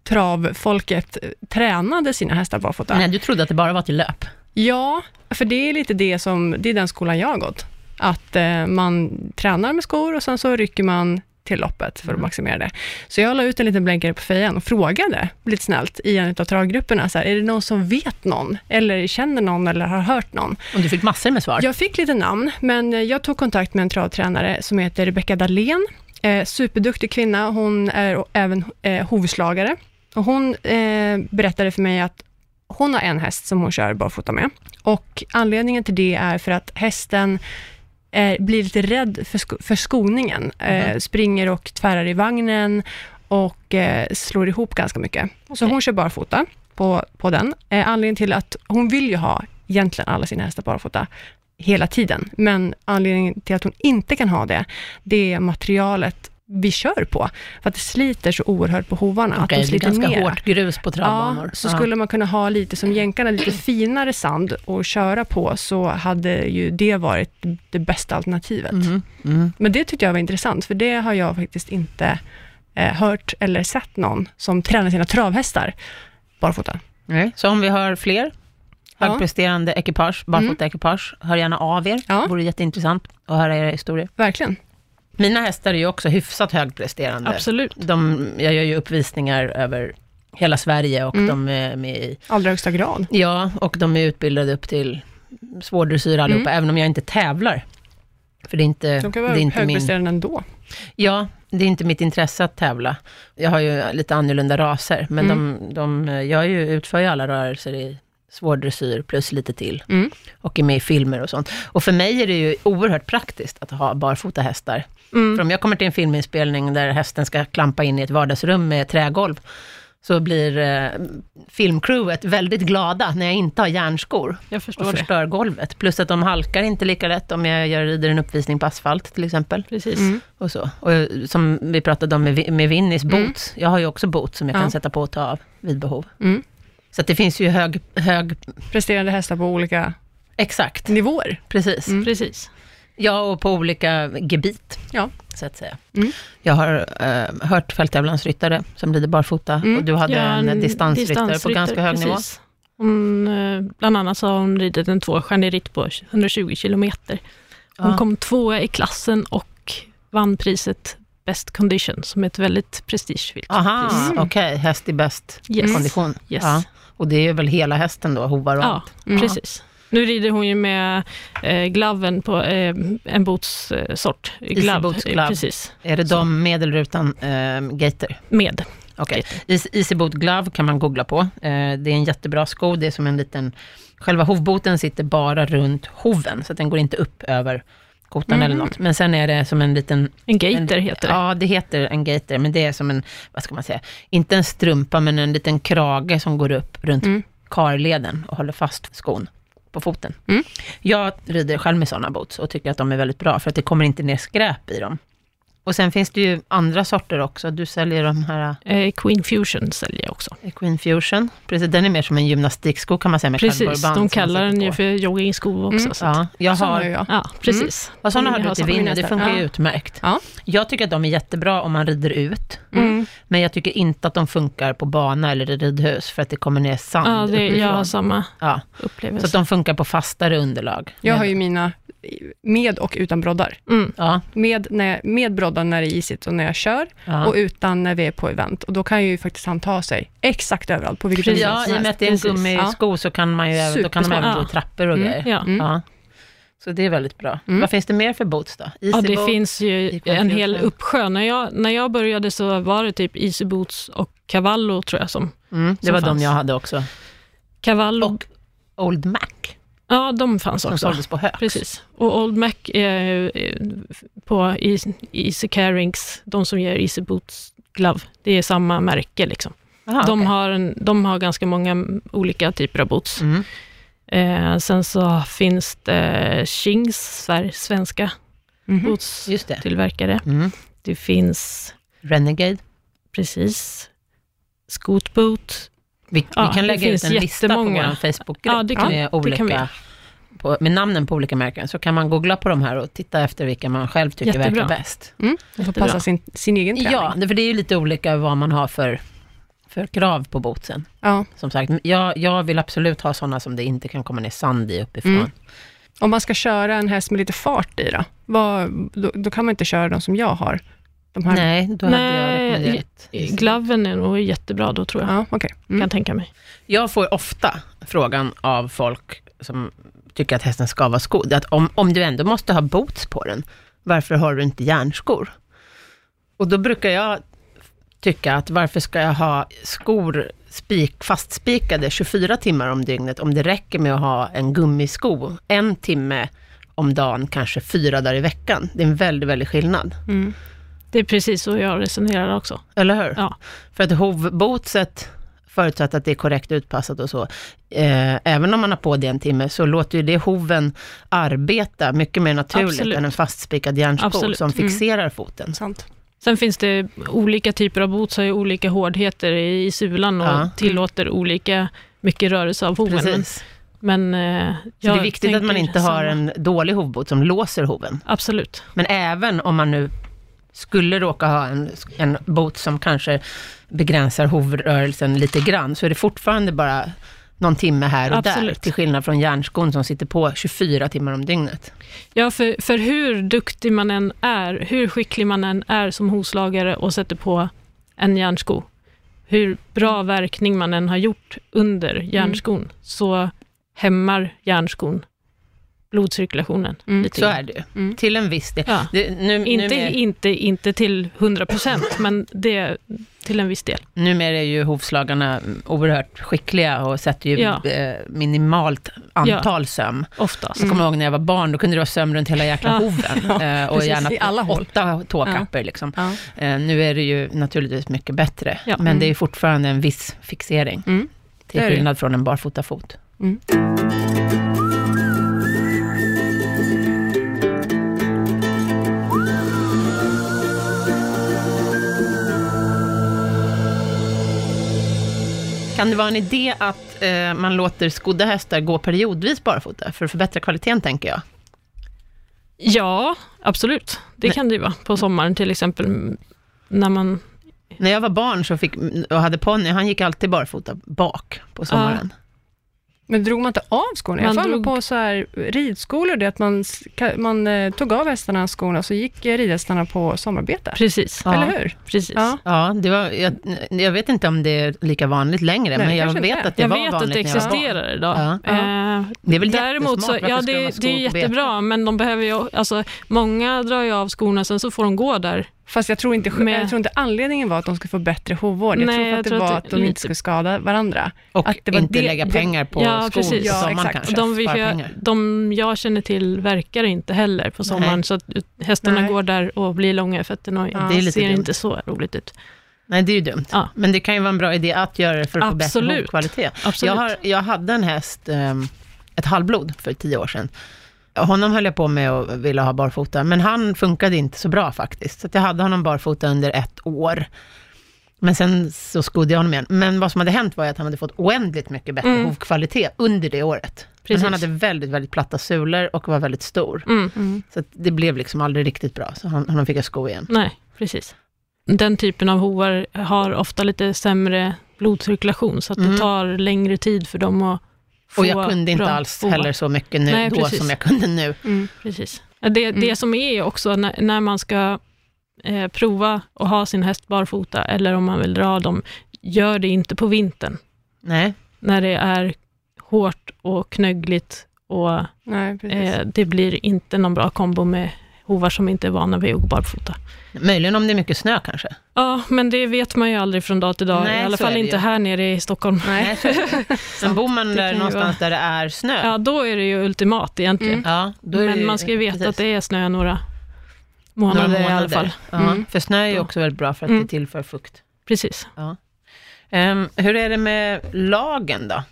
travfolket eh, tränade sina hästar barfota. Nej, du trodde att det bara var till löp. Ja, för det är lite det som, det är den skolan jag har gått. Att eh, man tränar med skor och sen så rycker man till loppet för att Mm. maximera det. Så jag la ut en liten blänkare på fejan och frågade lite snällt i en av travgrupperna, så här, är det någon som vet någon, eller känner någon eller har hört någon? Och du fick massor med svar. Jag fick lite namn, men eh, jag tog kontakt med en travtränare som heter Rebecca Dahlén. Eh, superduktig kvinna, hon är o- även eh, hovslagare. Och hon eh, berättade för mig att hon har en häst som hon kör barfota med. Och anledningen till det är för att hästen eh, blir lite rädd för, sko- för skoningen. Eh, Mhm. springer och tvärar i vagnen och eh, slår ihop ganska mycket. Så Okej. hon kör barfota på, på den. Eh, anledningen till att hon vill ju ha egentligen alla sina hästar barfota hela tiden, men anledningen till att hon inte kan ha det, det är materialet vi kör på, för att det sliter så oerhört på hovarna, Okej, att det de är sliter ganska ner. hårt grus på Ja, travbanor. så skulle man kunna ha lite som jänkarna, lite finare sand att köra på, så hade ju det varit det bästa alternativet. Mhm. Mm. Men det tyckte jag var intressant, för det har jag faktiskt inte eh, hört eller sett någon som tränar sina travhästar barfota. Nej. Så om vi har fler Ja. Mm. högpresterande ekipage, barfota-ekipage, hör gärna av er. Ja. Det vore jätteintressant att höra era historier. Verkligen. Mina hästar är ju också hyfsat högpresterande. absolut. De, jag gör ju uppvisningar över hela Sverige och Mm. de är med i Allra högsta grad. Ja, och de är utbildade upp till svår dressyr allihopa, även om jag inte tävlar. För det är inte, Mm. De Eh, det kan vara är inte min... högpresterande ändå. Ja, det är inte mitt intresse att tävla. Jag har ju lite annorlunda raser, men de, de, jag är ju, utför ju alla rörelser i svår dressyr plus lite till. Mm. Och är med i filmer och sånt. Och för mig är det ju oerhört praktiskt att ha barfota hästar. Mm. För om jag kommer till en filminspelning där hästen ska klampa in i ett vardagsrum med trägolv, så blir eh, filmcrewet väldigt glada när jag inte har järnskor Jag och förstår det. förstör golvet. Plus att de halkar inte lika lätt om jag gör, rider en uppvisning på asfalt till exempel. Precis. Mm. Och så. Och eh, som vi pratade om med, Vi- med Vinnies Mm. boots. Jag har ju också boots som jag Ja. kan sätta på och ta av vid behov. Mm. Så att det finns ju hög, hög Presterande hästar på olika Mm, exakt, nivåer. precis. Mm. Precis. Ja, och på olika gebit. Ja. Så att säga. Mm. Jag har eh, hört fälttävlansryttare som rider barfota Mm. och du hade Ja, en distansryttare, på ganska hög nivå. precis. Hon, eh, bland annat så har hon ridit en tvåstjärnig ritt på 120 kilometer. Hon Ja. kom tvåa i klassen och vann priset Best Condition, som är ett väldigt prestigefyllt Aha, pris. Mm. okej, häst i bäst Yes. kondition. Mm. Yes. Ja. Och det är väl hela hästen då, hovar och Ja, allt? Mm. precis. Nu rider hon ju med eh, glaven på eh, en botssort. Eh, sort. Glove, boots eh, glove. Precis, Är det de medelrutan eh, gator? med. Okej. Easy- Easy boot Typ. glove kan man googla på. Eh, det är en jättebra sko. Det är som en liten... Själva hovboten sitter bara runt hoven, så att den går inte upp över kotan Mhm. eller något. Men sen är det som en liten... En gaiter en, heter det. Ja, det heter en gaiter, men det är som en, vad ska man säga, inte en strumpa, men en liten krage som går upp runt Mm. karleden och håller fast skon på foten. Mm. Jag rider själv med sådana boots och tycker att de är väldigt bra, för att det kommer inte ner skräp i dem. Och sen finns det ju andra sorter också. Du säljer de här Eh, Queen Fusion säljer jag också. eh, Queen Fusion. Precis, den är mer som en gymnastiksko kan man säga med Precis, kardborreband de som man kallar den sätter ju på. för joggingsko också. Mm. Så att, Ja, jag Såna har har... ju jag. ja, precis. Ja, sådana Om har ni du har till såna Vinny, det nästan. funkar ju Ja. utmärkt. Ja. Jag tycker att de är jättebra om man rider ut. Mm. Men jag tycker inte att de funkar på bana eller i ridhus för att det kommer ner sand Ja, det, jag uppifrån. har samma Ja, Mm. så upplevelse. att de funkar på fastare underlag. Jag har ju mina med och utan broddar. Mm. Ja, Med, när jag, med broddar när det är isigt och när jag kör ja. och utan när vi är på event. Och då kan ju faktiskt han ta sig exakt överallt på vilket Precis. event ja, som i och med helst. att det är en Precis. gummisko så kan man ju även, då kan de Supersmart. även gå i Ja. trappor och Mm, grejer. Ja. Mm. Ja. Så det är väldigt bra. Mm. Vad finns det mer för boots då? Easy Ja, det boot? finns ju Equal en hel Fusion. uppsjö. När jag, när jag började så var det typ Easy Boots och Cavallo, tror jag som. Mm, det som var de fanns. jag hade också. Cavallo, Och Old Mac, ja de fanns som också. såldes på Hööks. Precis. Och Old Mac är ju, eh, på Easy- Easy Carings, de som gör Easy Boots Glove, det är samma märke liksom. Aha, de, Ah, okej. har en, de har ganska många olika typer av boots. Mm. Eh, sen så finns det Kings, Sver- svenska Mhm. bootstillverkare. Just det. Mm. Det finns, Renegade. precis, Scootboot. Vi, Ja, vi kan det lägga ut finns en lista på jättemånga. vår Facebookgrupp Ja, det kan- med, det olika, kan vi göra. på, med namnen på olika märken, så kan man googla på de här och titta efter vilka man själv tycker Jättebra. verkar bäst. Man får Jättebra. Mm. passa sin, sin egen träning. Ja, det- för det är ju lite olika vad man har för, för krav på bootsen. Ja. Som sagt, jag, jag vill absolut ha sådana som det inte kan komma ner sand i uppifrån. Mm. Om man ska köra en häst med lite fart i då, vad, då, då kan man inte köra de som jag har. De här. Nej, då hade jag Nej, rekommenderat. Glaven är nog jättebra då, tror jag. Ja, okej. Kan Mm. jag tänka mig. Jag får ofta frågan av folk som tycker att hästen ska vara skodd, att om, om du ändå måste ha boots på den, varför har du inte järnskor? Och då brukar jag tycka att varför ska jag ha skor spik, fastspikade 24 timmar om dygnet, om det räcker med att ha en gummisko en timme om dagen, kanske fyra dagar i veckan. Det är en väldigt, väldigt skillnad. Mm. Det är precis så jag resonerar också. Eller hur? Ja. För att hovbotset, förutsatt att det är korrekt utpassat och så, eh, även om man har på det en timme, så låter ju det hoven arbeta mycket mer naturligt Absolut. än en fastspikad järnsko Absolut. som Mm. fixerar foten. Sant. Sen finns det olika typer av boots, har ju olika hårdheter i sulan och Ja. Mm. tillåter olika mycket rörelse av hoven. Men, Precis. men eh, Så det är jag viktigt att man tänker inte har samma. en dålig hovbot som låser hoven. Absolut. Men även om man nu skulle råka ha en, en bot som kanske begränsar hovrörelsen lite grann, så är det fortfarande bara någon timme här och där, Absolut. till skillnad från järnskon som sitter på 24 timmar om dygnet. Ja, för, för hur duktig man än är, hur skicklig man än är som hovslagare och sätter på en järnsko, hur bra verkning man än har gjort under Mm. järnskon, så hämmar järnskon blodcirkulationen. Mm. Lite Så grann. är det ju. Mm. Till en viss del. Ja. Det, nu, Inte, numer, inte, inte till 100%, men det till en viss del. numera är ju hovslagarna oerhört skickliga och sätter ju Ja. eh, minimalt antal söm. Oftast. Jag kommer ihåg när jag var barn, då kunde det vara söm runt hela jäkla Ja. hoven. eh, och precis, gärna i alla håll. åtta tåkapper liksom. Ja. Eh, nu är det ju naturligtvis mycket bättre, Ja. men det är fortfarande en viss fixering. Mm. Till Det är det. skillnad från en barfotafot. Kan det vara en idé att eh, man låter skodda hästar gå periodvis barfota, för att förbättra kvaliteten tänker jag? Ja, absolut. Det Nej. kan det ju vara. På sommaren till exempel, m, när man... När jag var barn så fick, och hade ponny, han gick alltid barfota bak på sommaren. Men drog man inte av skorna? Jag Man har för mig drog- på så här ridskolor, det att man, ska- man eh, tog av hästarna skorna, så gick eh, ridhästarna på sommarbete. Precis. Ja. Eller hur? Precis. Ja. Ja, det var, jag, jag vet inte om det är lika vanligt längre, Nej, men jag kanske vet inte. att det Jag var vet att vanligt det när jag var barn. existerar idag. Ja. Eh, Det är väl Däremot så, jättesmart, varför ja ska de ha det, skor det är på jättebra, men de behöver ju, alltså, många drar ju av skorna, sen så får de gå där. Fast jag tror, inte, Med- jag tror inte anledningen var att de skulle få bättre hovvård. Jag Nej, tror för jag att det tror var att att, det- de inte lite- skulle skada varandra. Och Att det var inte det- lägga det- pengar på Ja, skor precis. på Ja, sommaren exakt. kanske. De, vi, Spara jag, pengar. de jag känner till verkar inte heller på sommaren, Nej. så att hästarna Nej. går där och blir långa i fötterna och Ja, det är lite ser dumt. inte så roligt ut. Nej, det är ju dumt. Ja. Men det kan ju vara en bra idé att göra det för att få Absolut. bättre hovkvalitet. Absolut. Jag, har, jag hade en häst, ehm, ett halvblod, för tio år sedan. Honom höll jag på med och ville ha barfota, men han funkade inte så bra faktiskt. Så att jag hade honom barfota under ett år. Men sen så skodde jag honom igen. Men vad som hade hänt var ju att han hade fått oändligt mycket bättre Mm. hovkvalitet under det året. Precis. Men han hade väldigt, väldigt platta sulor och var väldigt stor. Mm. Så att det blev liksom aldrig riktigt bra, så han, honom fick jag sko igen. Nej, precis. Den typen av hovar har ofta lite sämre blodcirkulation, så att Mm. det tar längre tid för dem att få Och jag kunde inte bra alls hovar. heller så mycket nu Nej, då precis. som jag kunde nu. Mm. Precis. Det, Mm. det som är också när, när man ska eh, prova att ha sin häst barfota, eller om man vill dra dem, gör det inte på vintern, Nej, när det är hårt och knöggligt och Nej, precis. eh, det blir inte någon bra kombo med hovar som inte är vana vid att gå barfota. möjligen om det är mycket snö kanske. Ja, men det vet man ju aldrig från dag till dag, Nej, i alla så är fall det inte ju. här nere i Stockholm. Nej, så är det. Men bor man det kan där ju någonstans där det är snö, ja. Ja, då är det ju ultimat egentligen. Mm. då är det men ju- man ska ju veta precis. att det är snö några månader, Några i alla fall. Ja, Mm. För snö är ju Ja. också väldigt bra för att Mm. det tillför fukt. Precis. Ehm, hur är det med lagen då?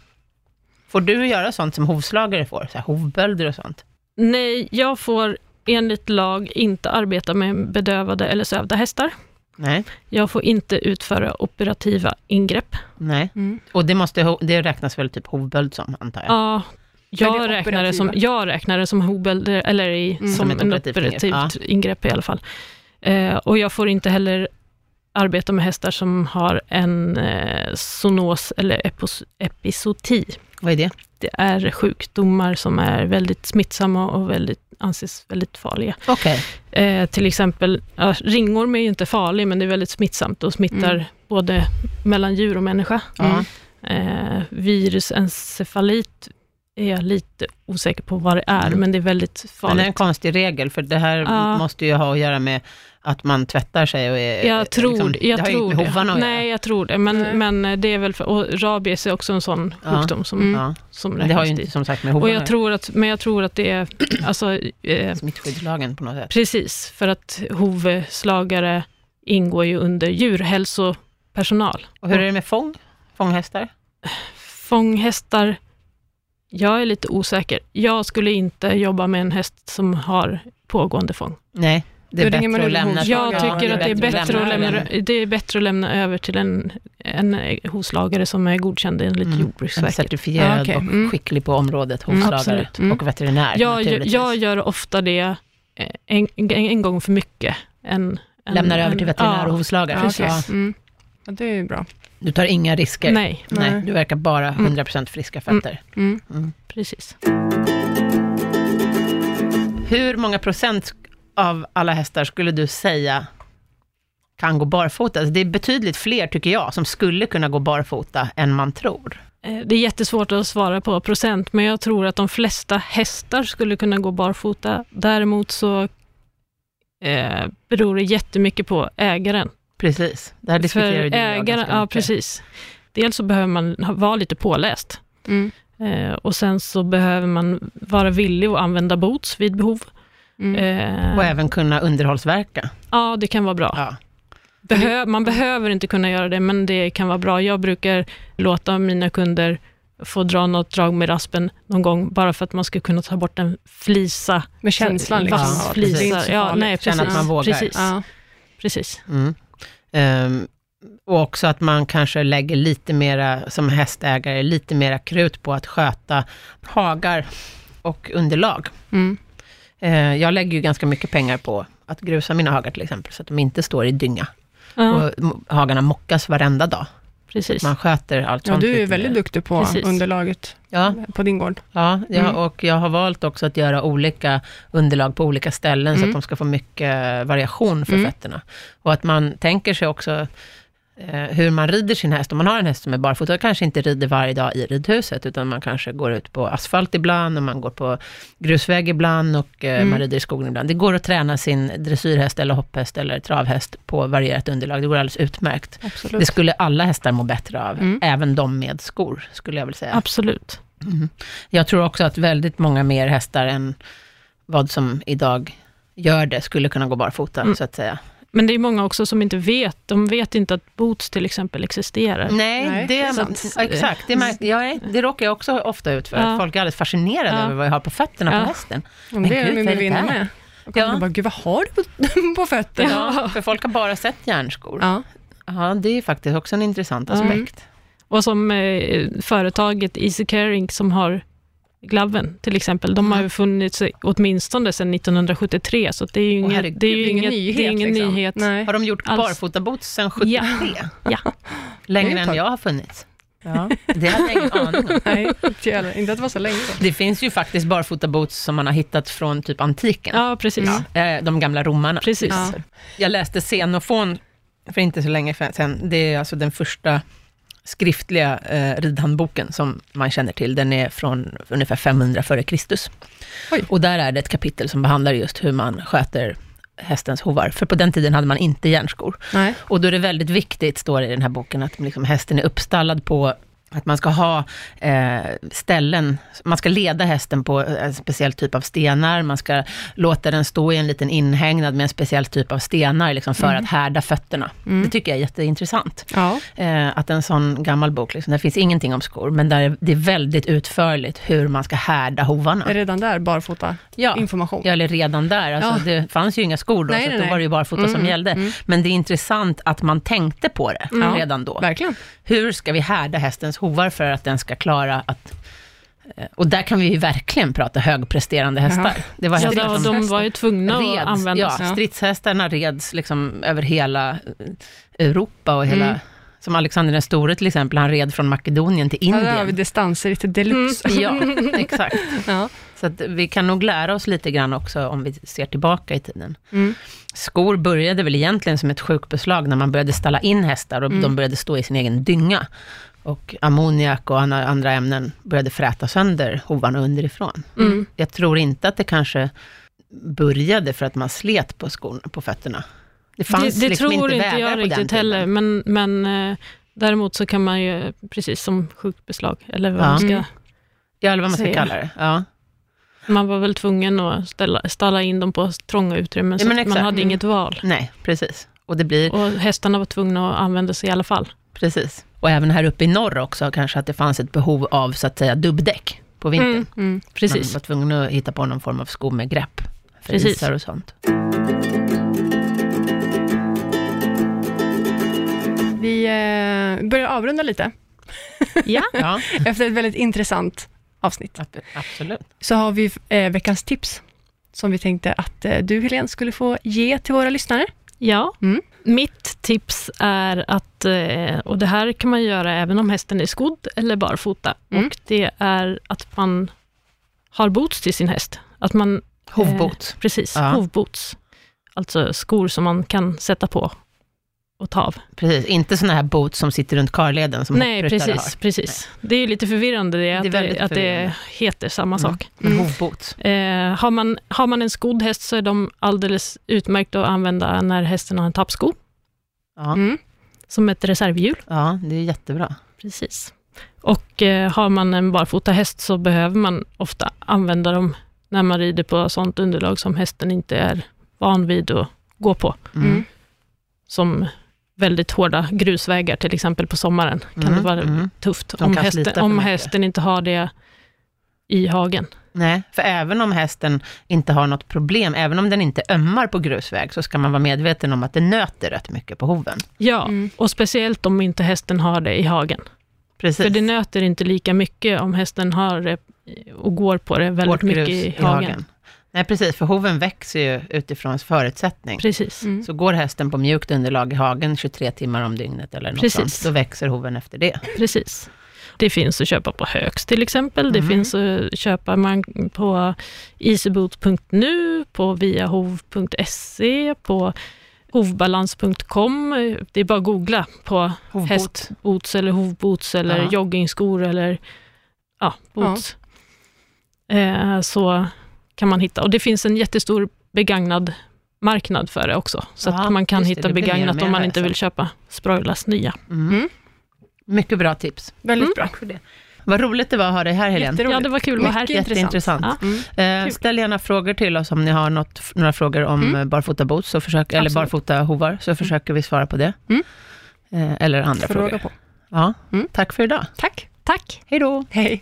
Får du göra sånt som hovslagare får? Så här, hovbölder och sånt? Nej, jag får enligt lag inte arbeta med bedövade eller sövda hästar. Nej. Jag får inte utföra operativa ingrepp. Nej. Mm. Och det, måste, ho- det räknas väl typ hovböld som, antar jag? Ja, Men det jag är räknar, det som, operativa. jag räknar det som hobel, eller i, som Som ett ett operativt operativt ingrepp, ingrepp i alla fall. Eh, och jag får inte heller arbeta med hästar som har en eh, zoonos eller epos, episoti. Vad är det? Det är sjukdomar som är väldigt smittsamma och väldigt, anses väldigt farliga. Okej. Eh, till exempel, ja, ringorm är ju inte farlig, men det är väldigt smittsamt och smittar Mm. både mellan djur och människa. Ja. Eh, virusencefalit är jag lite osäker på vad det är, Mm. men det är väldigt Men farligt. det är en konstig regel, för det här Ja. måste ju ha att göra med att man tvättar sig och är... jag tror, liksom, jag det. har ju tror inte med hovarna att Nej, göra. jag tror det. Men, Nej. men eh, det är väl för, och rabies är också en sån Ja. sjukdom som, Mm. Ja. som Men det har räknas ju inte dit. som sagt med Och hovarna jag tror att, men jag tror att det är, alltså, eh, smittskyddslagen på något sätt. precis, för att hovslagare ingår ju under djurhälsopersonal. Och hur är det med fång? Fånghästar? Fånghästar, jag är lite osäker. Jag skulle inte jobba med en häst som har pågående fång. Nej, det Då är ringer man bättre att Ulla lämna. Hovs- Jag Ja, tycker att det är bättre att lämna, över det är bättre att lämna över till en, en hovslagare som är godkänd enligt Mm, En Jordbruksverket. certifierad Ja, okej. Mm. och skicklig på området hovslagare absolut. Mm. och veterinär Jag, gör- naturligtvis. jag gör ofta det eh, en, en, en gång för mycket. En, en, Lämnar över till en- veterinär och Mm. ja, hovslagare. Ja, Ja, okej. Mm. ja, det är ju bra. Du tar inga risker. Nej, Mm. Nej, Nej. du verkar bara 100% friska fötter. Mm. Mm. precis. Hur många procent av alla hästar skulle du säga kan gå barfota? Alltså, det är betydligt fler, tycker jag, som skulle kunna gå barfota än man tror. Eh, Det är jättesvårt att svara på procent, men jag tror att de flesta hästar skulle kunna gå barfota. Däremot så eh, beror det jättemycket på ägaren. Precis, det här För diskuterar ju du och jag ägaren, ganska ja mycket. precis. Dels så behöver man ha- vara lite påläst. Mm. Eh, och sen så behöver man vara villig att använda bots vid behov. Mm. Eh, Och även kunna underhållsverka. ja, det kan vara bra. Ja. Behö- man behöver inte kunna göra det, men det kan vara bra. Jag brukar låta mina kunder få dra något drag med raspen någon gång, bara för att man ska kunna ta bort en flisa. Med känslan liksom. Vass av att flisa. det är inte så Ja, farligt. nej, Känna att precis. man vågar. Precis. Ja. precis. Mm. Ehm, och också att man kanske lägger lite mera, som hästägare, lite mera krut på att sköta hagar och underlag. Mm. Ehm, jag lägger ju ganska mycket pengar på att grusa mina hagar till exempel, så att de inte står i dynga. Ja, Och m- hagarna mockas varenda dag. precis. Man sköter allt ja, sånt. du är ju lite väldigt mer. duktig på Precis. underlaget Ja, på din gård. ja jag, Mm. och jag har valt också att göra olika underlag på olika ställen, så Mm. att de ska få mycket eh, variation för Mm. fötterna. Och att man tänker sig också eh, hur man rider sin häst. Om man har en häst som är barfota, och kanske inte rider varje dag i ridhuset, utan man kanske går ut på asfalt ibland, och man går på grusväg ibland, och eh, Mm. man rider i skogen ibland. Det går att träna sin dressyrhäst, eller hopphäst, eller travhäst på varierat underlag. Det går alldeles utmärkt. Absolut. Det skulle alla hästar må bättre av, Mm. även de med skor, skulle jag vilja säga. Absolut. Mm. Jag tror också att väldigt många mer hästar än vad som idag gör det, skulle kunna gå barfota, Mm. så att säga. Men det är många också som inte vet. De vet inte att bots till exempel existerar. Nej, Nej, det det, är sant. ja, exakt. Det, märk, jag är, det råkar jag också ofta ut för, Ja. att folk är alldeles fascinerade Ja. över vad jag har på fötterna Ja. på hästen. Men det är gud, de ju vad med är det vinna där? med. Och kommer Ja. bara, gud vad har du på, på fötterna? Ja, för folk har bara sett järnskor. Ja. Ja. det är ju faktiskt också en intressant Ja. aspekt. Och som eh, företaget Easy Caring som har Glaven till exempel, de Mm. har ju funnits åtminstone sedan 1973, så det är ju Åh, inget, herregud, det är ju ingen inget, nyhet, det är ingen liksom. nyhet. Nej. Har de gjort Alls. barfotabots sedan 73? Ja. Det är Längre ett än tag. jag har funnits. Det hade jag ingen aning om. Nej, inte jag heller. Inte att det var så länge sedan. Det finns ju faktiskt barfotaboots som man har hittat från typ antiken. Ja, precis. Ja. Eh, De gamla romarna. precis. Ja. Jag läste Xenofon för inte så länge sedan. Det är alltså den första skriftliga eh, ridhandboken som man känner till. Den är från ungefär 500 före Kristus. Oj. Och där är det ett kapitel som behandlar just hur man sköter hästens hovar. För på den tiden hade man inte järnskor. Nej. Och då är det väldigt viktigt, står det i den här boken, att liksom hästen är uppstallad på Att man ska ha eh, ställen, man ska leda hästen på en speciell typ av stenar, man ska låta den stå i en liten inhägnad med en speciell typ av stenar, liksom Mm. för att härda fötterna. Det tycker jag är jätteintressant. Ja. Eh, att en sån gammal bok, liksom, där finns ingenting om skor, men där är- det är väldigt utförligt hur man ska härda hovarna. Redan där, barfota Ja. information. Ja, eller redan där. Alltså, Det fanns ju inga skor då, Nej, så nej, då nej. Mm. var det ju barfota som gällde. Men det är intressant att man tänkte på det Ja, redan då. Verkligen. Hur ska vi härda hästens hovar för att den ska klara att... eh, Och där kan vi ju verkligen prata högpresterande hästar. Ja. Det var Ja, hästar då, som de var ju tvungna att reds. använda ja, sig. stridshästarna reds liksom över hela eh, Europa och hela... Som Alexander den store till exempel, han red från Makedonien till Ja, där har vi Indien. Mm. distanser lite deluxe. Ja, exakt. Ja. Så att vi kan nog lära oss lite grann också om vi ser tillbaka i tiden. Mm. Skor började väl egentligen som ett sjukbeslag när man började stalla in hästar Mm. och de började stå i sin egen dynga. Och ammoniak och andra andra ämnen började fräta sönder hovarna underifrån. Mm. Jag tror inte att det kanske började för att man slet på skorna, på fötterna. Det fanns det det liksom tror inte inte vägar jag på den riktigt tiden. heller, men, men eh, däremot så kan man ju, precis som sjukbeslag, eller vad man Ja. ska Mm. Ja, eller vad man ska Se. kalla det. Ja. Man var väl tvungen att ställa, stalla in dem på trånga utrymmen, Ja, så men att man exakt. hade Mm. inget val. Nej, precis. Och det blir Och hästarna var tvungna att använda sig i alla fall. Precis. Och även här uppe i norr också, kanske att det fanns ett behov av så att säga dubbdäck på vintern. Mm, Mm. Man precis. var tvungen att hitta på någon form av sko med grepp för Precis. isar och sånt. Vi eh, börjar avrunda lite. Mm. Ja. Ja, Efter ett väldigt intressant avsnitt ab- absolut. så har vi eh, veckans tips som vi tänkte att eh, du Helene skulle få ge till våra lyssnare. Ja, Mm. mitt tips är att, eh, och det här kan man göra även om hästen är skodd eller barfota, Mm. och det är att man har boots till sin häst. Att man, Hovbot. precis, Ja. hovboots. Alltså skor som man kan sätta på och ta av. Precis, inte sådana här boots som sitter runt karleden som Eh. Nej, hopprutare precis. precis. Det är lite förvirrande det, att, det, väldigt att förvirrande. det heter samma Mm. sak. har. Men Mm. hovbot. Eh, har, man, har man en skodd häst så är de alldeles utmärkta att använda när hästen har en tappsko, Ja, Mm. som ett reservhjul. ja, det är jättebra. Precis. Och eh, har man en barfota häst så behöver man ofta använda dem när man rider på sånt underlag som hästen inte är van vid att gå på. Mm. Mm. Som väldigt hårda grusvägar till exempel på sommaren kan Mm, det vara mm. tufft De om, kan slita för hästen, om mycket. hästen inte har det i hagen. Nej, för även om hästen inte har något problem, även om den inte ömmar på grusväg, så ska man vara medveten om att det nöter rätt mycket på hoven. Ja, Mm. och speciellt om inte hästen har det i hagen. Precis. För det nöter inte lika mycket om hästen har det och går på det väldigt hårt mycket grus i hagen. Nej, precis, för hoven växer ju utifrån förutsättning. Precis. Mm. Så går hästen på mjukt underlag i hagen 23 timmar om dygnet eller något Precis. sånt, då växer hoven efter det. Precis. Det finns att köpa på Högs till exempel. Det Mm. finns att köpa man på easyboot.nu, på viahov.se, på hovbalans.com. Det är bara att googla på Hovbot. hästboots eller hovboots eller Ja. joggingskor eller ja, boots. Eh, så kan man hitta. Och det finns en jättestor begagnad marknad för det också. Så Ja, att man kan just det, hitta det blir mer och begagnat mer alltså. om man här inte sen. vill köpa Sproilas nya. Mm. Mm. Mycket bra tips. Väldigt bra. Mm. Tack för det. Vad roligt det var att ha dig här Helene. Jätteroligt. Ja, det var kul att vara här. Mycket Jätteintressant. Ja. Mm. Eh, kul. ställ gärna frågor till oss om ni har något, f- några frågor om Mm. mm. barfota boots, så försök, eller Absolut. barfota hovar, så försöker vi svara på det. Mm. Eh, eller andra Fråga frågor. på. Ja. Mm. Tack för idag. Tack. Tack. Hej då. Hej.